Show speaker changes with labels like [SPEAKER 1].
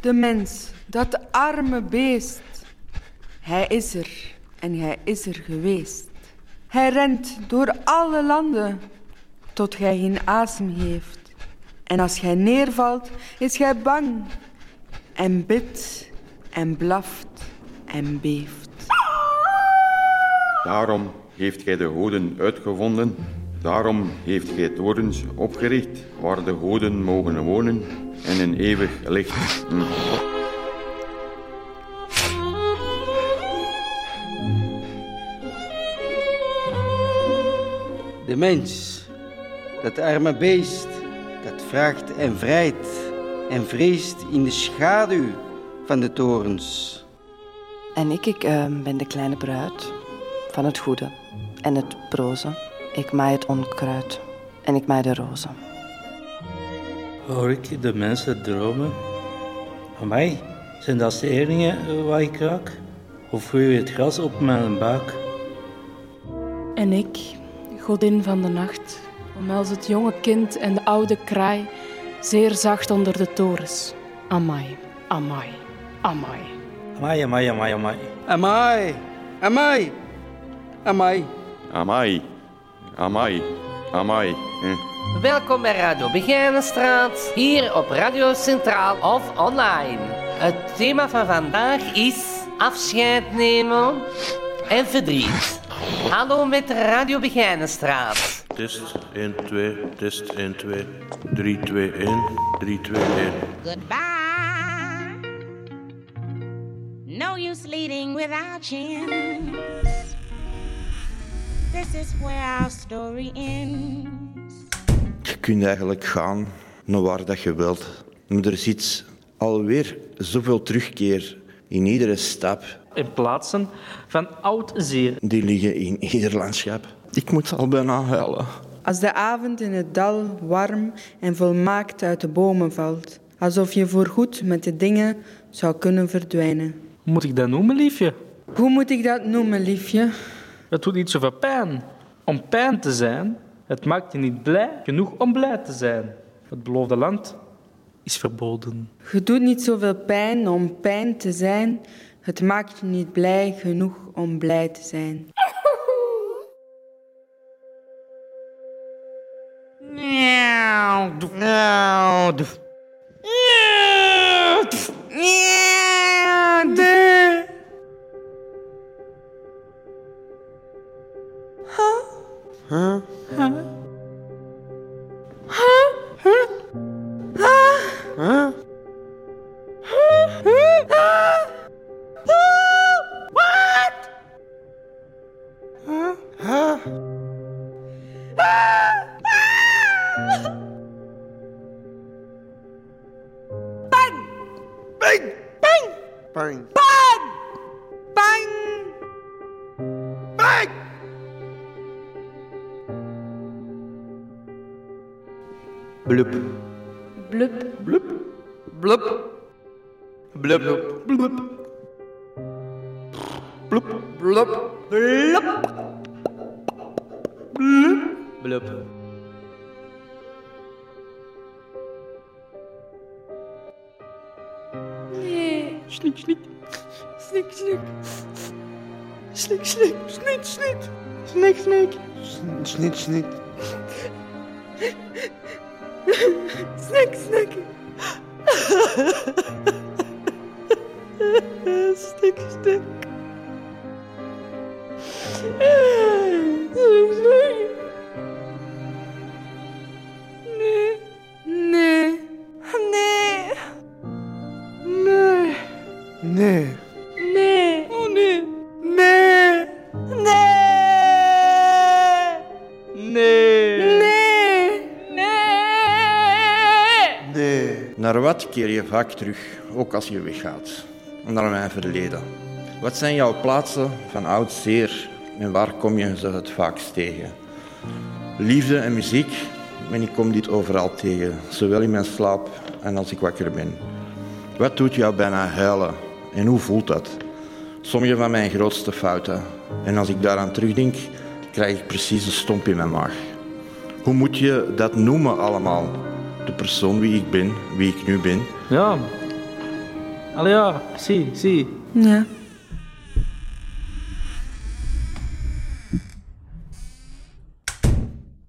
[SPEAKER 1] De mens, dat arme beest. Hij is er en hij is er geweest. Hij rent door alle landen tot gij geen asem heeft. En als gij neervalt, is gij bang en bidt en blaft en beeft.
[SPEAKER 2] Daarom heeft gij de goden uitgevonden. Daarom heeft gij torens opgericht waar de goden mogen wonen en een eeuwig licht. Hm.
[SPEAKER 3] De mens, dat arme beest, dat vraagt en vrijt en vreest in de schaduw van de torens.
[SPEAKER 4] En ik, ik eh, ben de kleine bruid van het goede en het broze. Ik maai het onkruid en ik maai de rozen.
[SPEAKER 5] Hoor ik de mensen dromen? Amai, zijn dat steringen eh, waar ik raak? Of groeit het gras op mijn buik?
[SPEAKER 6] En ik, godin van de nacht, omhels het jonge kind en de oude kraai, zeer zacht onder de torens. Amai, amai, amai.
[SPEAKER 5] Amai, amai, amai, amai.
[SPEAKER 3] Amai, amai, amai.
[SPEAKER 2] Amai, amai, amai. Hm.
[SPEAKER 7] Welkom bij Radio Begijnenstraat, hier op Radio Centraal of online. Het thema van vandaag is afscheid nemen en verdriet. Hallo met Radio Begijnenstraat.
[SPEAKER 8] Test 1, 2, test 1, 2, 3, 2, 1, 3, 2, 1.
[SPEAKER 9] Goodbye. No use leading without chance. This is where our story ends.
[SPEAKER 10] Je kunt eigenlijk gaan naar waar dat je wilt. Maar er zit alweer zoveel terugkeer in iedere stap.
[SPEAKER 11] in plaatsen van oud zeer.
[SPEAKER 10] Die liggen in ieder landschap. Ik moet al bijna huilen.
[SPEAKER 1] Als de avond in het dal warm en volmaakt uit de bomen valt, alsof je voorgoed met de dingen zou kunnen verdwijnen.
[SPEAKER 11] Moet ik dat noemen, liefje?
[SPEAKER 1] Hoe moet ik dat noemen, liefje?
[SPEAKER 11] Het doet niet zoveel pijn. Om pijn te zijn, het maakt je niet blij genoeg om blij te zijn. Het beloofde land is verboden.
[SPEAKER 1] Je doet niet zoveel pijn om pijn te zijn. Het maakt je niet blij genoeg om blij te zijn.
[SPEAKER 3] Blup,
[SPEAKER 6] Blub,
[SPEAKER 3] blup, blup, blup, blup, blup, blup, blup, blup.
[SPEAKER 10] Naar wat keer je vaak terug, ook als je weggaat? Naar mijn verleden. Wat zijn jouw plaatsen van oud zeer en waar kom je ze het vaakst tegen? Liefde en muziek, en ik kom dit overal tegen, zowel in mijn slaap en als ik wakker ben. Wat doet jou bijna huilen en hoe voelt dat? Sommige van mijn grootste fouten. En als ik daaraan terugdenk, krijg ik precies een stomp in mijn maag. Hoe moet je dat noemen allemaal? De persoon wie ik ben, wie ik nu ben.
[SPEAKER 11] Ja, Allee ja, zie, zie.
[SPEAKER 1] Ja.